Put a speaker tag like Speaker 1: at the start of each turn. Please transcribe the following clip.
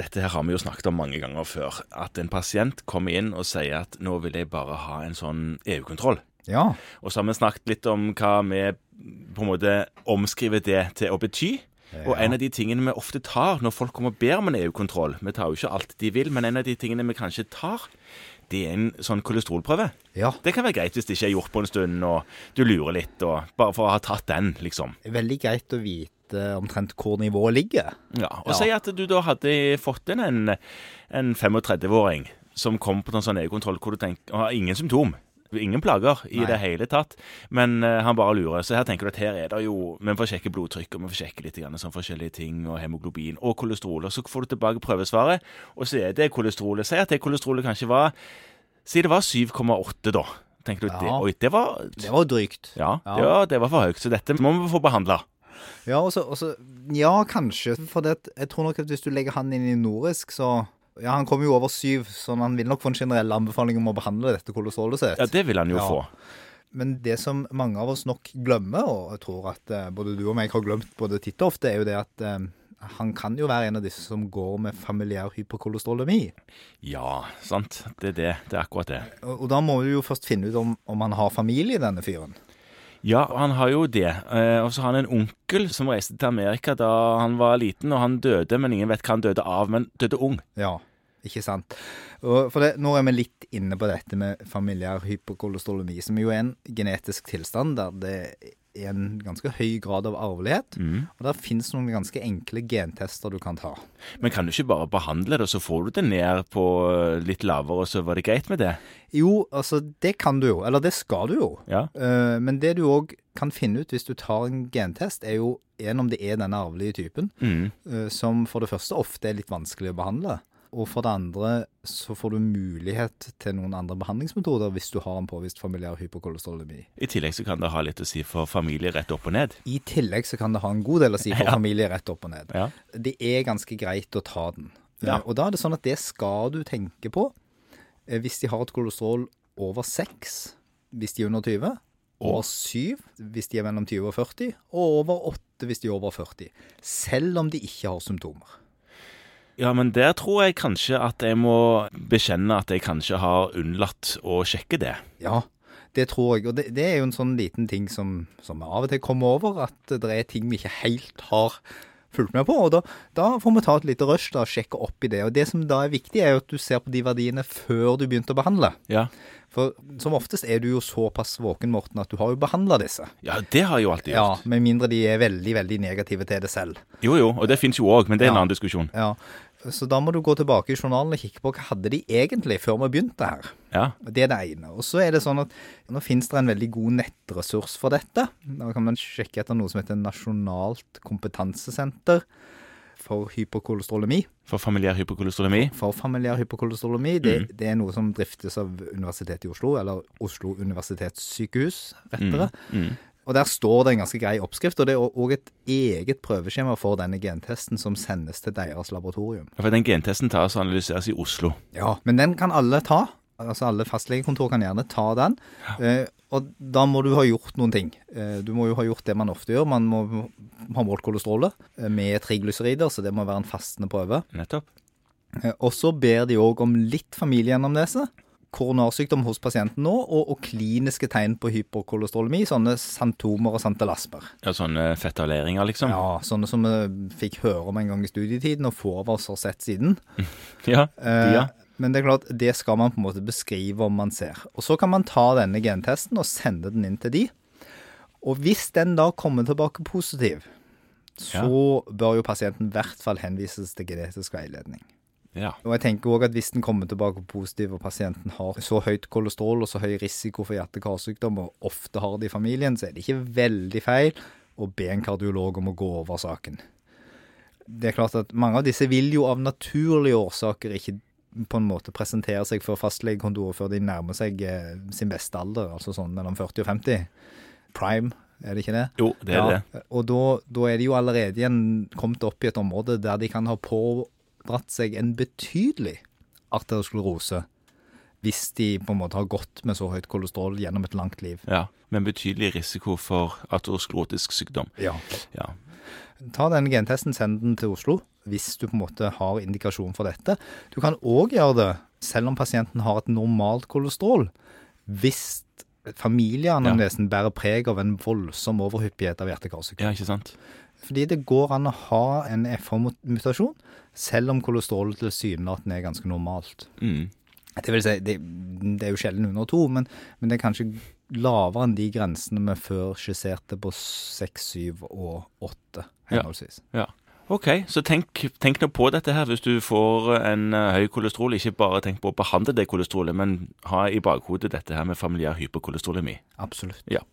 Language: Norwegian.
Speaker 1: dette her har vi jo snakket om mange ganger før. At en pasient kommer inn og sier at nå vil jeg bare ha en sånn EU-kontroll.
Speaker 2: Ja.
Speaker 1: Og så har vi snakket litt om hva vi på en måte omskriver det til å bety. Og en av de tingene vi ofte tar når folk kommer og ber om en EU-kontroll Vi tar jo ikke alt de vil, men en av de tingene vi kanskje tar, det er en sånn kolesterolprøve.
Speaker 2: ja.
Speaker 1: Det kan være greit hvis det ikke er gjort på en stund, og du lurer litt, og bare for å ha tatt den, liksom.
Speaker 2: Veldig greit å vite omtrent hvor nivået ligger.
Speaker 1: Ja, Og si at du da hadde fått inn en, en 35-åring som kom på en sånn EU-kontroll hvor du tenker Og har ingen symptom. Ingen plager i
Speaker 2: Nei.
Speaker 1: det hele tatt, men eh, han bare lurer. Så her tenker du at her er det jo Vi får sjekke blodtrykk, og vi får sjekke litt grann, sånn forskjellige ting, og hemoglobin og kolesterol. Og så får du tilbake prøvesvaret, og så er det kolesterolet. Si at det kolesterolet kanskje var Si det var 7,8, da. Tenker du at det,
Speaker 2: Ja.
Speaker 1: oi, det var
Speaker 2: Det var drygt.
Speaker 1: ja,
Speaker 2: Ja.
Speaker 1: ja. det var for høyt, så dette må vi få behandla.
Speaker 2: Ja, og så, og så, ja kanskje. For det, at- jeg tror nok at hvis du legger han inn i norisk, så Ja, han kommer jo over syv, så han vil nok få en generell anbefaling om å behandle dette kolesterolet sitt.
Speaker 1: Ja, det vil han jo
Speaker 2: Ja.
Speaker 1: få.
Speaker 2: Men det som mange av oss nok glemmer, og jeg tror at eh, både du og meg har glemt både titt og ofte, er jo det at eh, han kan jo være en av disse som går med familiær hyperkolesterolemi.
Speaker 1: Ja, sant. Det er det. Det er akkurat det.
Speaker 2: Og, og da må vi jo først finne ut om, om han har familie, denne fyren.
Speaker 1: Ja, han har jo det. Eh, og så har han en onkel som reiste til Amerika da han var liten, og han døde, men ingen vet hva han døde av, men døde ung.
Speaker 2: Ja, ikke sant. Og for det, nå er vi litt inne på dette med familiær hyperkolesterolemi, som jo er en genetisk tilstand der det er en ganske høy grad av arvelighet. Og der finnes noen ganske enkle gentester du kan ta.
Speaker 1: Men kan du ikke bare behandle det, og så får du det ned på eh, litt lavere, og så var det greit med det?
Speaker 2: Jo, altså det kan du jo, eller det skal du jo.
Speaker 1: Ja.
Speaker 2: Eh, Men det du òg kan finne ut hvis du tar en gentest, er jo en om det er denne arvelige typen,
Speaker 1: Mm.
Speaker 2: eh, som for det første ofte er litt vanskelig å behandle. Og for det andre så får du mulighet til noen andre behandlingsmetoder hvis du har en påvist familiær hyperkolesterolemi.
Speaker 1: I tillegg så kan det ha litt å si for familie rett opp og ned.
Speaker 2: I tillegg så kan det ha en god del å si for familie rett opp og ned.
Speaker 1: Ja.
Speaker 2: Det er ganske greit å ta den.
Speaker 1: Ja.
Speaker 2: Eh, Og da er det sånn at det skal du tenke på eh, hvis de har et kolesterol over 6, hvis de er under 20, over 7 hvis de er mellom 20 og 40, og over 8 hvis de er over 40. Selv om de ikke har symptomer.
Speaker 1: Ja, men der tror jeg kanskje at jeg må bekjenne at jeg kanskje har unnlatt å sjekke det.
Speaker 2: Ja, det tror jeg. Og det, det er jo en sånn liten ting som, som vi av og til kommer over, at det er ting vi ikke helt har fulgt med på. Og da, da får vi ta et lite rush da, og sjekke opp i det. Og det som da er viktig, er jo at du ser på de verdiene før du begynte å behandle.
Speaker 1: Ja.
Speaker 2: For som oftest er du jo såpass våken, Morten, at du har jo behandla disse.
Speaker 1: Ja, det har jeg jo alltid
Speaker 2: Ja,
Speaker 1: gjort.
Speaker 2: Med mindre de er veldig, veldig negative til det selv.
Speaker 1: Jo, jo, og det fins jo òg, men det er en
Speaker 2: Ja.
Speaker 1: annen diskusjon.
Speaker 2: Ja, Så da må du gå tilbake i journalen og kikke på hva hadde de egentlig før vi begynte her.
Speaker 1: Ja.
Speaker 2: Det er det ene. Og så er det sånn at nå finnes det en veldig god nettressurs for dette. Da kan man sjekke etter noe som heter Nasjonalt kompetansesenter for hyperkolesterolemi.
Speaker 1: For familiær hyperkolesterolemi.
Speaker 2: For familiær hyperkolesterolemi, det, det er noe som driftes av Universitetet i Oslo, eller Oslo universitetssykehus, rettere. Og der står det en ganske grei oppskrift, og det er òg et eget prøveskjema for denne gentesten som sendes til deres laboratorium.
Speaker 1: Ja, For den gentesten tas og analyseres i Oslo.
Speaker 2: Ja, men den kan alle ta. Altså Alle fastlegekontor kan gjerne ta den. Eh, og da må du ha gjort noen ting. Eh, du må jo ha gjort det man ofte gjør. Man må ha målt kolesterolet eh, med triglycerider, så det må være en fastende prøve.
Speaker 1: Nettopp.
Speaker 2: Eh, og så ber de òg om litt familiegjennomnese. Koronarsykdom hos pasienten nå, og, og kliniske tegn på hyperkolesterolemi, sånne santomer og santelasmer.
Speaker 1: Ja, Sånne fettaleringer, liksom.
Speaker 2: Ja, sånne som vi fikk høre om en gang i studietiden, og få av oss har sett siden.
Speaker 1: Ja.
Speaker 2: Eh,
Speaker 1: ja.
Speaker 2: Men det er klart, det skal man på en måte beskrive om man ser. Og så kan man ta denne gentesten og sende den inn til de. Og hvis den da kommer tilbake positiv, så bør jo pasienten i hvert fall henvises til genetisk veiledning.
Speaker 1: ja.
Speaker 2: Og jeg tenker også at hvis den kommer tilbake positiv, og pasienten har så høyt kolesterol og så høy risiko for hjerte-karsykdom, og ofte har det i familien, så er det ikke veldig feil å be en kardiolog om å gå over saken. Det er klart at mange av disse vil jo av naturlige årsaker ikke på en måte presentere seg for fastlegekontoret før de nærmer seg eh, sin beste alder, altså sånn mellom 40 og 50. Prime, er det ikke det?
Speaker 1: Jo, det er det.
Speaker 2: Og da, da er de jo allerede igjen kommet opp i et område der de kan ha pådratt seg en betydelig arteriosklerose hvis de på en måte har gått med så høyt kolesterol gjennom et langt liv.
Speaker 1: Ja. Med betydelig risiko for aterosklerotisk sykdom.
Speaker 2: Ja.
Speaker 1: Ja.
Speaker 2: Ta den gentesten, send den til Oslo hvis du på en måte har indikasjon for dette. Du kan òg gjøre det selv om pasienten har et normalt kolesterol. Hvis familieanamnesen bærer preg av en voldsom overhyppighet av hjerte-karsykdom.
Speaker 1: Ja, ikke sant?
Speaker 2: Fordi det går an å ha en FH-mutasjon, selv om kolesterolet tilsynelatende er ganske normalt.
Speaker 1: Mm.
Speaker 2: Det vil si, det, det er jo sjelden under to, men, men det er kanskje lavere enn de grensene vi før skisserte på seks, syv og åtte,
Speaker 1: Ja.
Speaker 2: henholdsvis.
Speaker 1: Ja. OK, så tenk, tenk nå på dette her hvis du får en eh, høy kolesterol. Ikke bare tenk på å behandle det kolesterolet, men ha i bakhodet dette her med familiær hyperkolesterolemi.
Speaker 2: Absolutt.
Speaker 1: Ja.